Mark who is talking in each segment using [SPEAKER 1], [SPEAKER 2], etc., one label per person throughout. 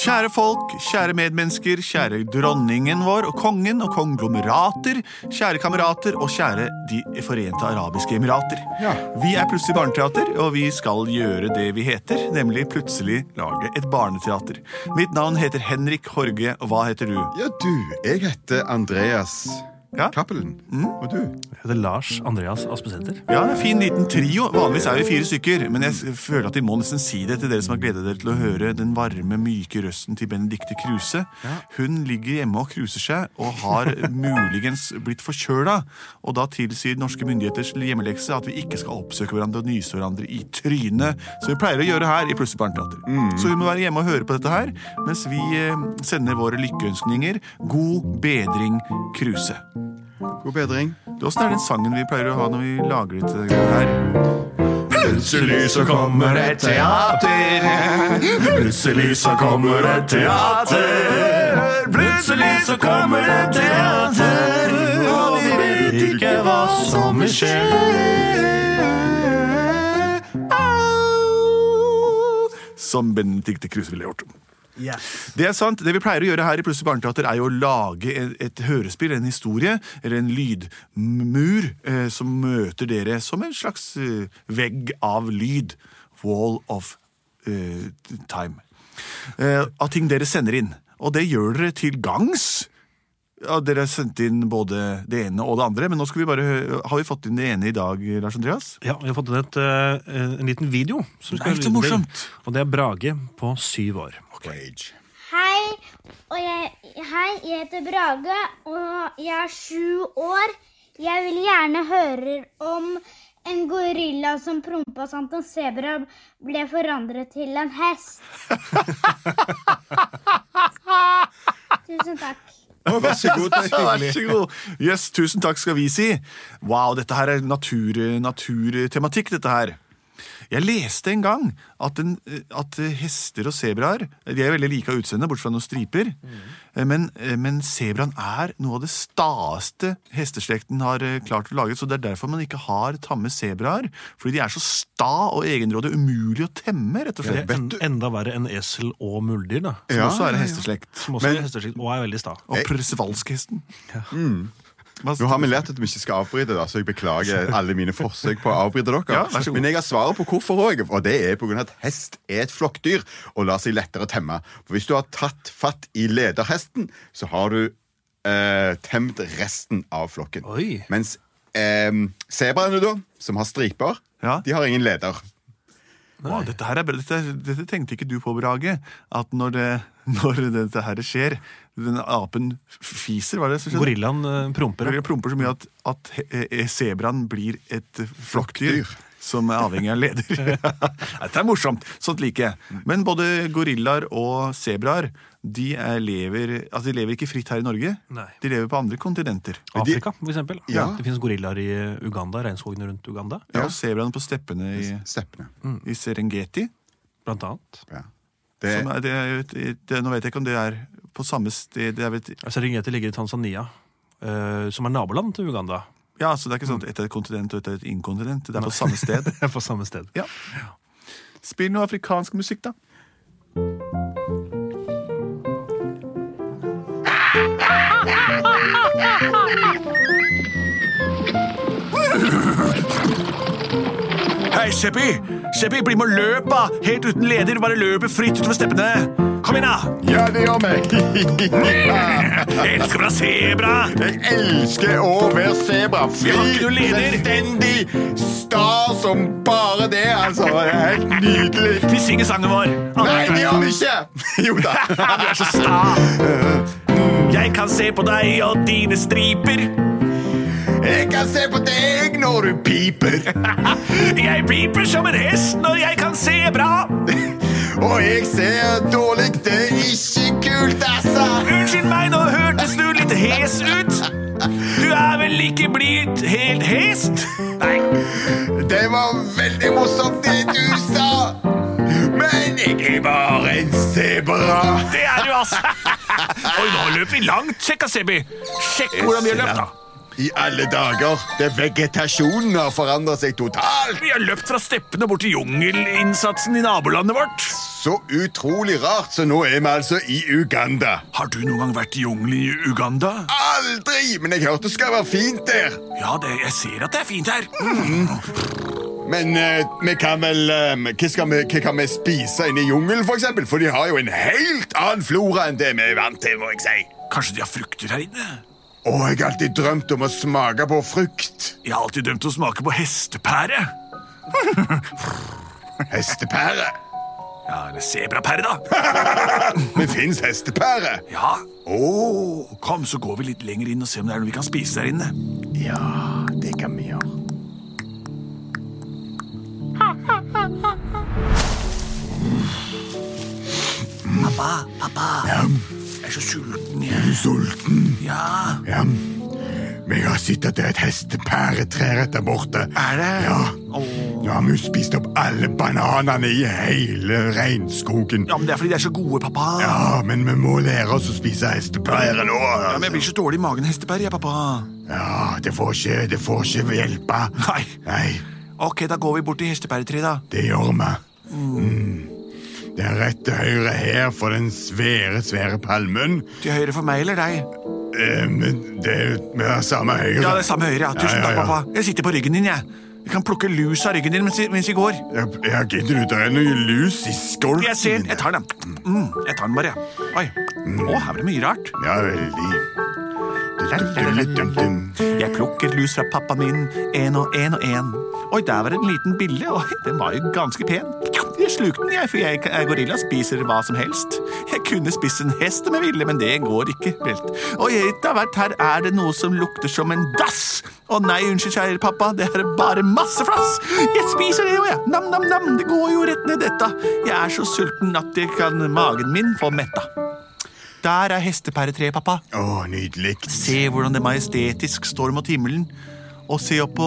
[SPEAKER 1] Kjære folk, kjære medmennesker, kjære dronningen vår og kongen og konglomerater, kjære kamerater og kjære De forente arabiske emirater.
[SPEAKER 2] Ja.
[SPEAKER 1] Vi er Plutselig barneteater, og vi skal gjøre det vi heter, nemlig plutselig lage et barneteater. Mitt navn heter Henrik Horge, og hva heter du?
[SPEAKER 2] Ja, du, jeg heter Andreas
[SPEAKER 1] Ja.
[SPEAKER 2] Cappelen.
[SPEAKER 1] Mm.
[SPEAKER 2] Og du?
[SPEAKER 3] Jeg heter Lars Andreas Aspesæter.
[SPEAKER 1] Ja, en fin liten trio. Vanligvis er vi fire stykker, men jeg s- føler at vi må nesten si det til dere som har gledet dere til å høre den varme, myke røsten til Benedicte Kruse. Hun ligger hjemme og kruser seg, og har muligens blitt forkjøla. Og da tilsier norske myndigheters hjemmelekse at vi ikke skal oppsøke hverandre og nyse hverandre i trynet, som vi pleier å gjøre her i Plutselig barneteater. Så hun må være hjemme og høre på dette her, mens vi eh, sender våre lykkeønskninger. God bedring, Kruse.
[SPEAKER 2] God bedring.
[SPEAKER 1] Åssen er den sangen vi pleier å ha når vi lager dette her?
[SPEAKER 2] Plutselig så
[SPEAKER 3] kommer et
[SPEAKER 2] teater.
[SPEAKER 1] Plutselig så kommer et teater. Plutselig så kommer et teater. Og vi vet ikke hva som vil skje. Au! Som Benedicte Kruse ville gjort. Det er sant. Det vi pleier å gjøre her i Plutselig barneteater, er jo å lage et, et hørespill, en historie, eller en lydmur, eh, som møter dere som en slags eh, vegg av lyd. Wall of eh, time. Eh, av ting dere sender inn. Og det gjør dere til gangs. Ja, dere har sendt inn både det ene og det andre, men nå skal vi bare hø- har vi fått inn det ene i dag, Lars Andreas?
[SPEAKER 3] Ja, Vi har fått inn et, eh, en liten video. Som
[SPEAKER 1] Nei, så
[SPEAKER 3] lyde til.
[SPEAKER 1] morsomt.
[SPEAKER 3] Og det er Brage på syv år.
[SPEAKER 4] Hei, og jeg, hei, jeg heter Brage, og jeg er sju år. Jeg vil gjerne høre om en gorilla som prompa sånn at en sebra ble forandret til en hest. Tusen takk.
[SPEAKER 2] Vær så god. det er
[SPEAKER 1] Ja, Vær
[SPEAKER 2] hyggelig.
[SPEAKER 1] så god. Yes, tusen takk skal vi si. Wow, dette her er natur, naturtematikk, dette her. Jeg leste en gang at, en, at hester og sebraer De er veldig like av utseende, bortsett fra noen striper.
[SPEAKER 2] Mm.
[SPEAKER 1] Men, men sebraen er noe av det staeste hesteslekten har eh, klart å lage. Så det er derfor man ikke har tamme sebraer. Fordi de er så sta og egenrådige. Umulig å temme, rett og
[SPEAKER 3] Det
[SPEAKER 1] slett.
[SPEAKER 3] er en, enda verre enn esel og muldyr, da.
[SPEAKER 1] Som
[SPEAKER 2] Ja,
[SPEAKER 1] også er
[SPEAKER 2] ja,
[SPEAKER 1] en
[SPEAKER 2] ja.
[SPEAKER 1] hesteslekt.
[SPEAKER 3] Som også er hesteslikt og er veldig sta.
[SPEAKER 1] Og przewalskhesten. Hva-
[SPEAKER 2] Nå har vi lært at vi ikke skal avbryte, da, så jeg beklager alle mine forsøk på å avbryte dere.
[SPEAKER 1] Ja, vær så god.
[SPEAKER 2] Men jeg har svaret på hvorfor òg, og det er pga. at hest er et flokkdyr og lar seg lettere temme. For hvis du har tatt fatt i lederhesten, så har du eh, temt resten av flokken.
[SPEAKER 3] Oi.
[SPEAKER 2] Mens eh, sebraene, da, som har striper,
[SPEAKER 1] Ja.
[SPEAKER 2] de har ingen leder.
[SPEAKER 1] Wow, dette, her er, bra. dette, dette tenkte ikke du på, Brage. At når, det, når dette her skjer Den apen fiser, var det? som skjedde?
[SPEAKER 3] Gorillaen eh, promper.
[SPEAKER 1] Gorilla promper så mye at, at he- eh, sebraen blir et eh, flokkdyr. Som er avhengig av leder. Dette er morsomt! Sånt liker jeg. Men både gorillaer og sebraer de, er- lever, altså de lever ikke fritt her i Norge.
[SPEAKER 3] Nei.
[SPEAKER 1] De lever på andre kontinenter.
[SPEAKER 3] Afrika, for eksempel.
[SPEAKER 2] Ja.
[SPEAKER 3] Det finnes gorillaer i Uganda, regnskogene rundt Uganda,
[SPEAKER 1] Ja, Mm. og sebraene på steppene i,
[SPEAKER 2] Steppene.
[SPEAKER 1] i Serengeti.
[SPEAKER 3] blant annet.
[SPEAKER 2] Ja. Det,
[SPEAKER 1] Som Sånn er, det, er jo et- det, nå vet jeg ikke om det er på samme sted det er vel et
[SPEAKER 3] Serengeti ligger i Tanzania, eh, som er naboland til Uganda.
[SPEAKER 1] Ja, så det er ikke sånn at ett er et kontinent og ett er et inkontinent. Det er på samme sted.
[SPEAKER 3] Det er på samme sted.
[SPEAKER 1] Ja. Spill noe afrikansk musikk, da. Hei, Seppi! Seppi, bli med og løp, da! Helt uten leder, bare løper fritt utover steppene. Kom igjen, da!
[SPEAKER 2] ja, det gjør meg!
[SPEAKER 1] Jeg elsker å se, bra!
[SPEAKER 2] Jeg elsker å være sebra. Fri,
[SPEAKER 1] Vi har ikke noen leder.
[SPEAKER 2] selvstendig, sta som bare det. Altså, det er helt nydelig.
[SPEAKER 1] Vi synger sangen vår.
[SPEAKER 2] Nei, det gjør vi ikke! Jo da.
[SPEAKER 1] Du er så sta! Jeg kan se på deg og dine striper.
[SPEAKER 2] Jeg kan se på deg når du piper,
[SPEAKER 1] Jeg piper som en hest når jeg kan se bra.
[SPEAKER 2] og jeg ser dårlig. Det er ikke kult, altså.
[SPEAKER 1] Unnskyld meg, nå hørtes du litt hes ut. Du er vel ikke blitt helt hest? Nei.
[SPEAKER 2] Det var veldig morsomt, det du sa. Men jeg er bare en sebra.
[SPEAKER 1] Det er du, altså. Oi, nå løp vi langt. Sjekk, Asebi. Sjekk hvordan vi har løpt, da.
[SPEAKER 2] I alle dager. Det Vegetasjonen har forandret seg totalt.
[SPEAKER 1] Vi har løpt fra steppene bort til jungelinnsatsen i nabolandet vårt.
[SPEAKER 2] Så utrolig rart, så nå er vi altså i Uganda.
[SPEAKER 1] Har du noen gang vært i jungelen i Uganda?
[SPEAKER 2] Aldri! Men jeg hørte det skal være fint der.
[SPEAKER 1] Ja, det, jeg ser at det er fint her. Mm.
[SPEAKER 2] Men eh, vi kan vel eh, hva, skal vi, hva kan vi spise inne i jungelen, for eksempel? For de har jo en helt annen flora enn det vi er vant til, må jeg si.
[SPEAKER 1] Kanskje de har frukter her inne?
[SPEAKER 2] Å, jeg har alltid drømt om å smake på frukt.
[SPEAKER 1] Jeg har alltid drømt om å smake på hestepære.
[SPEAKER 2] Hestepære.
[SPEAKER 1] Ja, eller sebrapære, da.
[SPEAKER 2] Men fins hestepære?
[SPEAKER 1] Ja. Å, kom, så går vi litt lenger inn og ser om det er noe vi kan spise der inne.
[SPEAKER 2] Ja, det kan vi gjøre.
[SPEAKER 1] Pappa, pappa. Jeg er så sulten, jeg.
[SPEAKER 2] Sulten?
[SPEAKER 1] Ja.
[SPEAKER 2] Ja. Men jeg har sett at det er et hestepæretre rett der borte.
[SPEAKER 1] Er det?
[SPEAKER 2] Ja.
[SPEAKER 1] Å.
[SPEAKER 2] Nå har vi jo spist opp alle bananene i hele regnskogen.
[SPEAKER 1] Ja, men Det er fordi de er så gode, pappa.
[SPEAKER 2] Ja, men vi må lære oss å spise hestepære nå.
[SPEAKER 1] Ja, men Jeg blir så dårlig i magen av hestepære, jeg, pappa.
[SPEAKER 2] Ja, det får ikke, det får ikke hjelpe.
[SPEAKER 1] Nei.
[SPEAKER 2] Nei,
[SPEAKER 1] Ok, da går vi bort til hestepæretreet, da.
[SPEAKER 2] det gjør vi. Mm. Det er rett til høyre her for den svære, svære palmen.
[SPEAKER 1] Til høyre for meg eller deg?
[SPEAKER 2] Eh, men det er vi har samme høyre.
[SPEAKER 1] Ja, det er samme høyre, ja. Tusen
[SPEAKER 2] Ja, ja,
[SPEAKER 1] takk,
[SPEAKER 2] ja.
[SPEAKER 1] pappa. Jeg sitter på ryggen din, jeg. Jeg kan plukke lus av ryggen din mens vi, mens vi går.
[SPEAKER 2] Ja, ja, gidder du, det er noe lus i skolten.
[SPEAKER 1] Jeg ser den. Jeg tar den. Mm, jeg tar den bare, jeg. Oi. Å, her var det mye rart.
[SPEAKER 2] Ja, veldig. Dum-dum-dum-dum-dum.
[SPEAKER 1] Jeg plukker lus fra pappaen min, én og én og én. Oi, der var det en liten bille. Oi, den var jo ganske pen. Jeg slukte den, jeg, for jeg er gorilla, spiser hva som helst. Jeg kunne spist en hest om jeg ville, men det går ikke. Velt. Oi, etter hvert her er det noe som lukter som en dass. Å nei, unnskyld, kjære pappa, det er bare masse flass. Jeg spiser det jo, jeg. Nam-nam-nam, det går jo rett ned dette. Jeg er så sulten at jeg kan magen min få metta. Der er hestepæretreet, pappa.
[SPEAKER 2] Å, nydelig.
[SPEAKER 1] Se hvordan det majestetisk står mot himmelen. Og se opp på,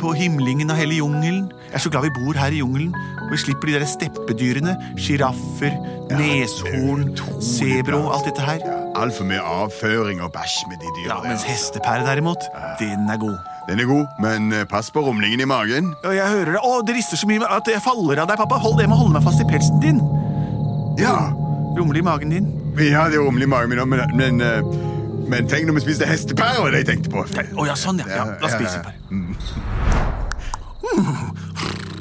[SPEAKER 1] på himlingen av hele jungelen. Jeg er så glad vi bor her i jungelen. Og vi slipper de der steppedyrene. Sjiraffer, neshorn,
[SPEAKER 2] Utrolig
[SPEAKER 1] sebro,
[SPEAKER 2] bra.
[SPEAKER 1] alt dette her.
[SPEAKER 2] Ja, Altfor mye avføring og bæsj med de dyra.
[SPEAKER 1] Ja,
[SPEAKER 2] der,
[SPEAKER 1] Mens
[SPEAKER 2] altså.
[SPEAKER 1] hestepære, derimot, den er god.
[SPEAKER 2] Den er god, men eh, pass på rumlingen i magen.
[SPEAKER 1] Og jeg hører det. Å, det rister så mye at jeg faller av deg, pappa. Hold det med å holde meg fast i pelsen din.
[SPEAKER 2] Ja,
[SPEAKER 1] Rumle i magen din.
[SPEAKER 2] vi hadde jo rumle i magen min, også, men, men, eh, men tenk når vi spiste hestepære, var det jeg tenkte på.
[SPEAKER 1] Å ja, sånn, ja. ja da spiser vi bare.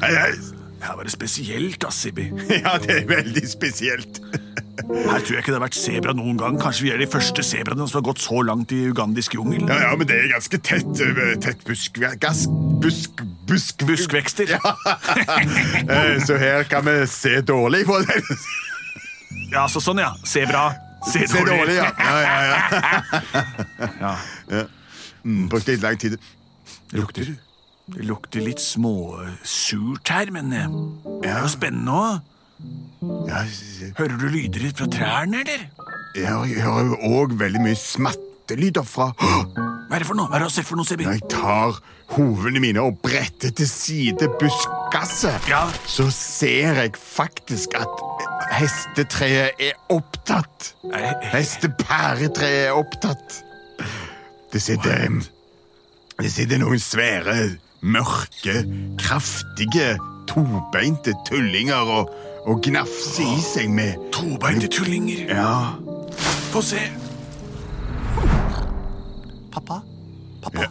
[SPEAKER 2] Hei, hei.
[SPEAKER 1] Her var det spesielt, ass, Sibbi.
[SPEAKER 2] Ja, det er veldig spesielt.
[SPEAKER 1] Her tror jeg ikke det har vært sebra noen gang. Kanskje vi er de første sebraene som har gått så langt i ugandisk jungel.
[SPEAKER 2] Ja, ja, men det er ganske tett, eh, tett busk... Gass, busk... Busk...
[SPEAKER 1] Buskvekster. Ja.
[SPEAKER 2] Eh, Så her kan vi se dårlig på det.
[SPEAKER 1] så sånn, ja. Se bra. Se
[SPEAKER 2] Se
[SPEAKER 1] dårlig.
[SPEAKER 2] dårlig, ja. ja, ja, ja.
[SPEAKER 1] Ja.
[SPEAKER 2] Mm, Brukte litt lang tid.
[SPEAKER 1] Det lukter Det lukter litt småsurt her, men eh, det er jo spennende òg.
[SPEAKER 2] Ja, s-
[SPEAKER 1] Hører du lyder fra trærne, eller?
[SPEAKER 2] ja, jeg hører jo òg veldig mye smattelyder fra
[SPEAKER 1] Hva er det for noe? Hva er det å se for noe, Sebi?
[SPEAKER 2] Når jeg tar hovene mine og bretter til side buskaset,
[SPEAKER 1] Ja.
[SPEAKER 2] så ser jeg faktisk at hestetreet er opptatt.
[SPEAKER 1] Nei.
[SPEAKER 2] Hestepæretreet er opptatt. Det sitter, det sitter noen svære, mørke, kraftige, tobeinte tullinger og, og gnafser i seg med
[SPEAKER 1] Tobeinte tullinger.
[SPEAKER 2] Ja.
[SPEAKER 1] Få se. Pappa? Pappa?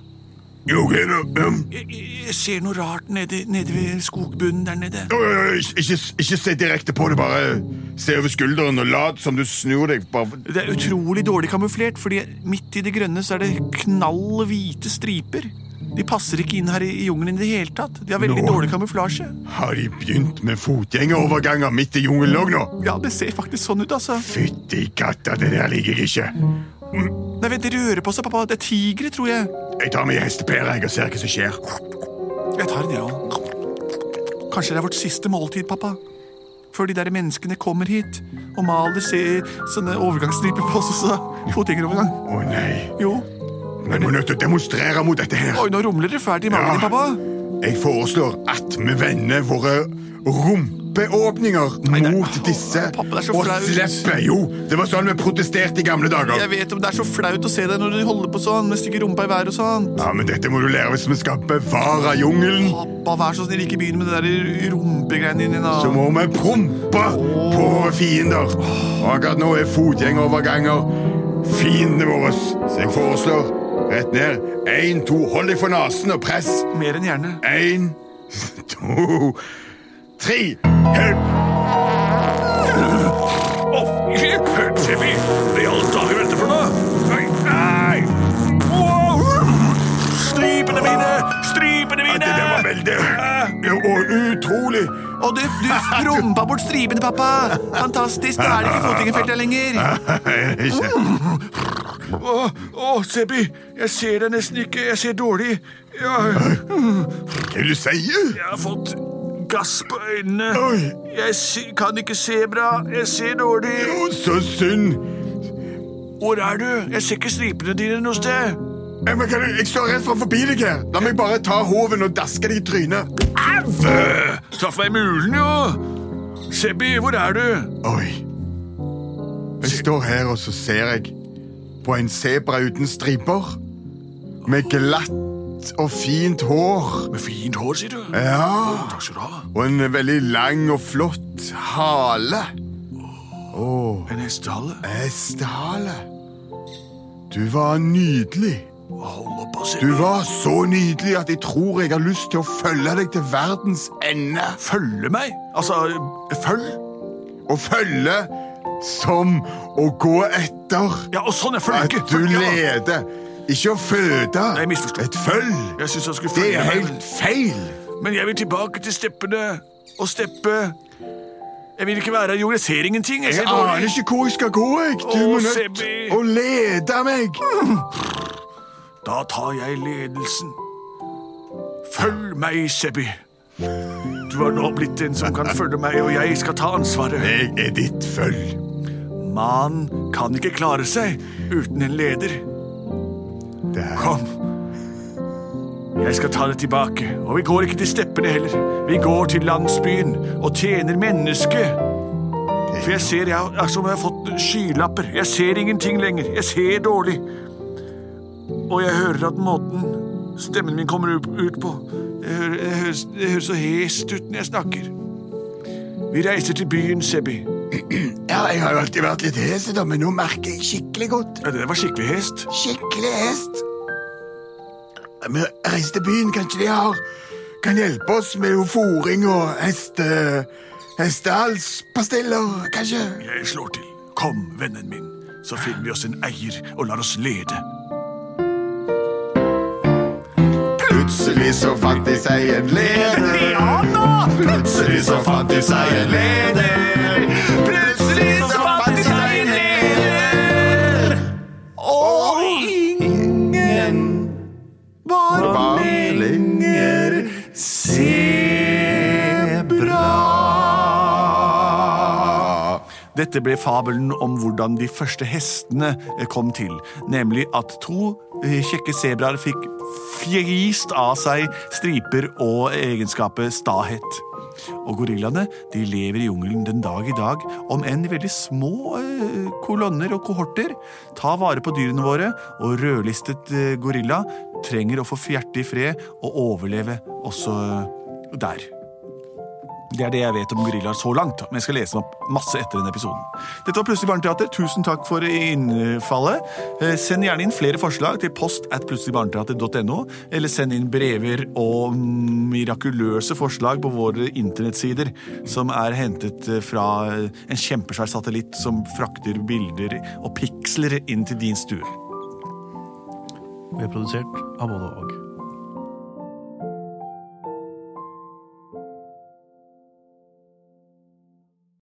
[SPEAKER 2] Jo, hva er det? Um,
[SPEAKER 1] Jeg, jeg- jeg ser noe rart nede, nede ved skogbunnen der nede.
[SPEAKER 2] Oi, oi, oi, Ikke, ikke se direkte på det, bare se over skulderen og lat som du snur deg. Bare.
[SPEAKER 1] Det er utrolig dårlig kamuflert, fordi midt i det grønne så er det knall hvite striper. De passer ikke inn her i i jungelen i det hele tatt. De har veldig
[SPEAKER 2] Nå.
[SPEAKER 1] dårlig kamuflasje.
[SPEAKER 2] Har de begynt med fotgjengeroverganger midt i jungelen òg nå?
[SPEAKER 1] Ja, det ser faktisk sånn ut, altså.
[SPEAKER 2] Fytti katta, det der liker jeg ikke.
[SPEAKER 1] Nei, vent, de rører på seg, pappa. Det er tigre, tror jeg.
[SPEAKER 2] Jeg tar meg i hestepæra jeg, og ser hva som skjer.
[SPEAKER 1] Jeg tar en, jeg òg. Kanskje det er vårt siste måltid, pappa. Før de der menneskene kommer hit og maler se, sånne overgangsstriper på oss. Så fotgjengerovergang.
[SPEAKER 2] Å nei,
[SPEAKER 1] Jo.
[SPEAKER 2] vi må nødt til å demonstrere mot dette her.
[SPEAKER 1] Oi, nå rumler det fælt i magen din, pappa.
[SPEAKER 2] Jeg foreslår at vi vender våre rumper pappeåpninger
[SPEAKER 1] Nei, det-
[SPEAKER 2] mot disse.
[SPEAKER 1] Å, pappa, det er så
[SPEAKER 2] og
[SPEAKER 1] flaut.
[SPEAKER 2] slippe! Jo, det var sånn vi protesterte i gamle dager.
[SPEAKER 1] Jeg vet om Det er så flaut å se deg når du holder på sånn med stygge rumpa i været og sånn.
[SPEAKER 2] Ja, men Dette må du lære hvis vi skal bevare jungelen.
[SPEAKER 1] Pappa, vær så snill, ikke begynn med det der rumpegreiene dine. da.
[SPEAKER 2] Så må vi prompe på fiender. Og akkurat nå er fotgjengeroverganger fiendene våre. Så jeg foreslår rett ned. Én, to, hold deg for nesen og press.
[SPEAKER 1] Mer enn gjerne.
[SPEAKER 2] Én, to, tre. Hjelp!
[SPEAKER 5] Plutselig! I alle dager, hva er dette for noe? Nei, nei! Wow! Stripene mine! Stripene
[SPEAKER 2] Ja,
[SPEAKER 5] mine!
[SPEAKER 2] Det der var veldig Ja, Og utrolig.
[SPEAKER 1] Og du, du prompa bort stripene, pappa! Fantastisk, nå er det ikke fotgjengerfelt her lenger.
[SPEAKER 2] Er det ikke?
[SPEAKER 5] Å, å, Seppi! Jeg ser deg nesten ikke. Jeg ser dårlig. Ja,
[SPEAKER 2] Hva er det du sier?
[SPEAKER 5] jeg har fått gass på øynene.
[SPEAKER 2] Oi.
[SPEAKER 5] Jeg se- kan ikke se bra. Jeg ser dårlig.
[SPEAKER 2] Å, så synd.
[SPEAKER 5] Hvor er du? Jeg ser ikke stripene dine noe sted.
[SPEAKER 2] Jeg, men, kan du, jeg står rett fra forbi deg her. La meg bare ta hoven og daske deg i trynet.
[SPEAKER 5] Øh, Traff meg i mulen, jo. Seppi, hvor er du?
[SPEAKER 2] Oi. Jeg står her, og så ser jeg på en sebra uten striper. Med glatt og fint hår.
[SPEAKER 5] Med fint hår, sier du.
[SPEAKER 2] Ja.
[SPEAKER 5] Takk skal du ha.
[SPEAKER 2] Og en veldig lang og flott hale.
[SPEAKER 5] En hestehale.
[SPEAKER 2] Hestehale. Du var nydelig.
[SPEAKER 5] Hold opp altså. og se.
[SPEAKER 2] Du var så nydelig at jeg tror jeg har lyst til å følge deg til verdens ende.
[SPEAKER 5] Følge meg? Altså, følg?
[SPEAKER 2] Og følge som å gå etter
[SPEAKER 5] Ja, og sånn, jeg følger
[SPEAKER 2] at
[SPEAKER 5] ikke.
[SPEAKER 2] du
[SPEAKER 5] Følg, ja.
[SPEAKER 2] leder. Ikke å føde.
[SPEAKER 5] Nei, jeg misforsto.
[SPEAKER 2] Et følg.
[SPEAKER 5] Jeg synes jeg skulle
[SPEAKER 2] Det
[SPEAKER 5] følge
[SPEAKER 2] er
[SPEAKER 5] meg,
[SPEAKER 2] helt feil.
[SPEAKER 5] men- Men jeg vil tilbake til steppene og steppe. Jeg vil ikke være her, jord. Jeg ser ingenting. Jeg
[SPEAKER 2] Jeg
[SPEAKER 5] ser
[SPEAKER 2] aner
[SPEAKER 5] dårlig.
[SPEAKER 2] ikke hvor jeg skal gå. jeg. Du
[SPEAKER 5] Å,
[SPEAKER 2] må nødt
[SPEAKER 5] Sebbi.
[SPEAKER 2] å lede meg.
[SPEAKER 5] Da tar jeg ledelsen. Følg meg, Seppi. Du har nå blitt en som kan følge meg, og jeg skal ta ansvaret.
[SPEAKER 2] Jeg er ditt følg.
[SPEAKER 5] Man kan ikke klare seg uten en leder.
[SPEAKER 2] Det er-
[SPEAKER 5] Kom. Jeg skal ta det tilbake, og vi går ikke til steppene heller. Vi går til landsbyen og tjener mennesket. For jeg ser, jeg er som om jeg har fått skylapper. Jeg ser ingenting lenger. Jeg ser dårlig. Og jeg hører at måten stemmen min kommer ut ut på Det hø- det høres, det høres så hest ut når jeg snakker. Vi reiser til byen, Sebbi.
[SPEAKER 2] Ja, jeg har jo alltid vært litt hes, da, men nå merker jeg skikkelig godt.
[SPEAKER 5] Ja, det der var skikkelig hest.
[SPEAKER 2] Skikkelig hest. Vi reiser til byen. Kanskje de har kan hjelpe oss med jo fôring og heste... Hestehalspastiller, kanskje?
[SPEAKER 5] Jeg slår til. Kom, vennen min, så finner vi oss en eier og lar oss lede.
[SPEAKER 2] Plutselig så fant de seg en leder. Plutselig så fant de seg en leder. Plutselig så fant de seg en leder. Og ingen var lenger sebra.
[SPEAKER 1] Dette ble fabelen om hvordan de første hestene eh, kom til, nemlig at to eh, kjekke sebraer fikk fjerist av seg striper og egenskapet stahet. Og gorillaene de lever i jungelen den dag i dag, om enn i veldig små eh, kolonner og kohorter. Ta vare på dyrene våre, og rødlistet eh, gorilla trenger å få fjerte i fred og overleve også eh, der. Det er det jeg vet om gorillaer så langt, men jeg skal lese meg opp masse etter denne episoden. Dette var Plutselig barneteater. Tusen takk for innfallet. Eh, Send gjerne inn flere forslag til post at plutseligbarneteater.no, eller send inn brever og mirakuløse forslag på våre internettsider, som er hentet eh, fra en kjempesvær satellitt som frakter bilder og piksler inn til din stue.
[SPEAKER 3] Vi er produsert av både og.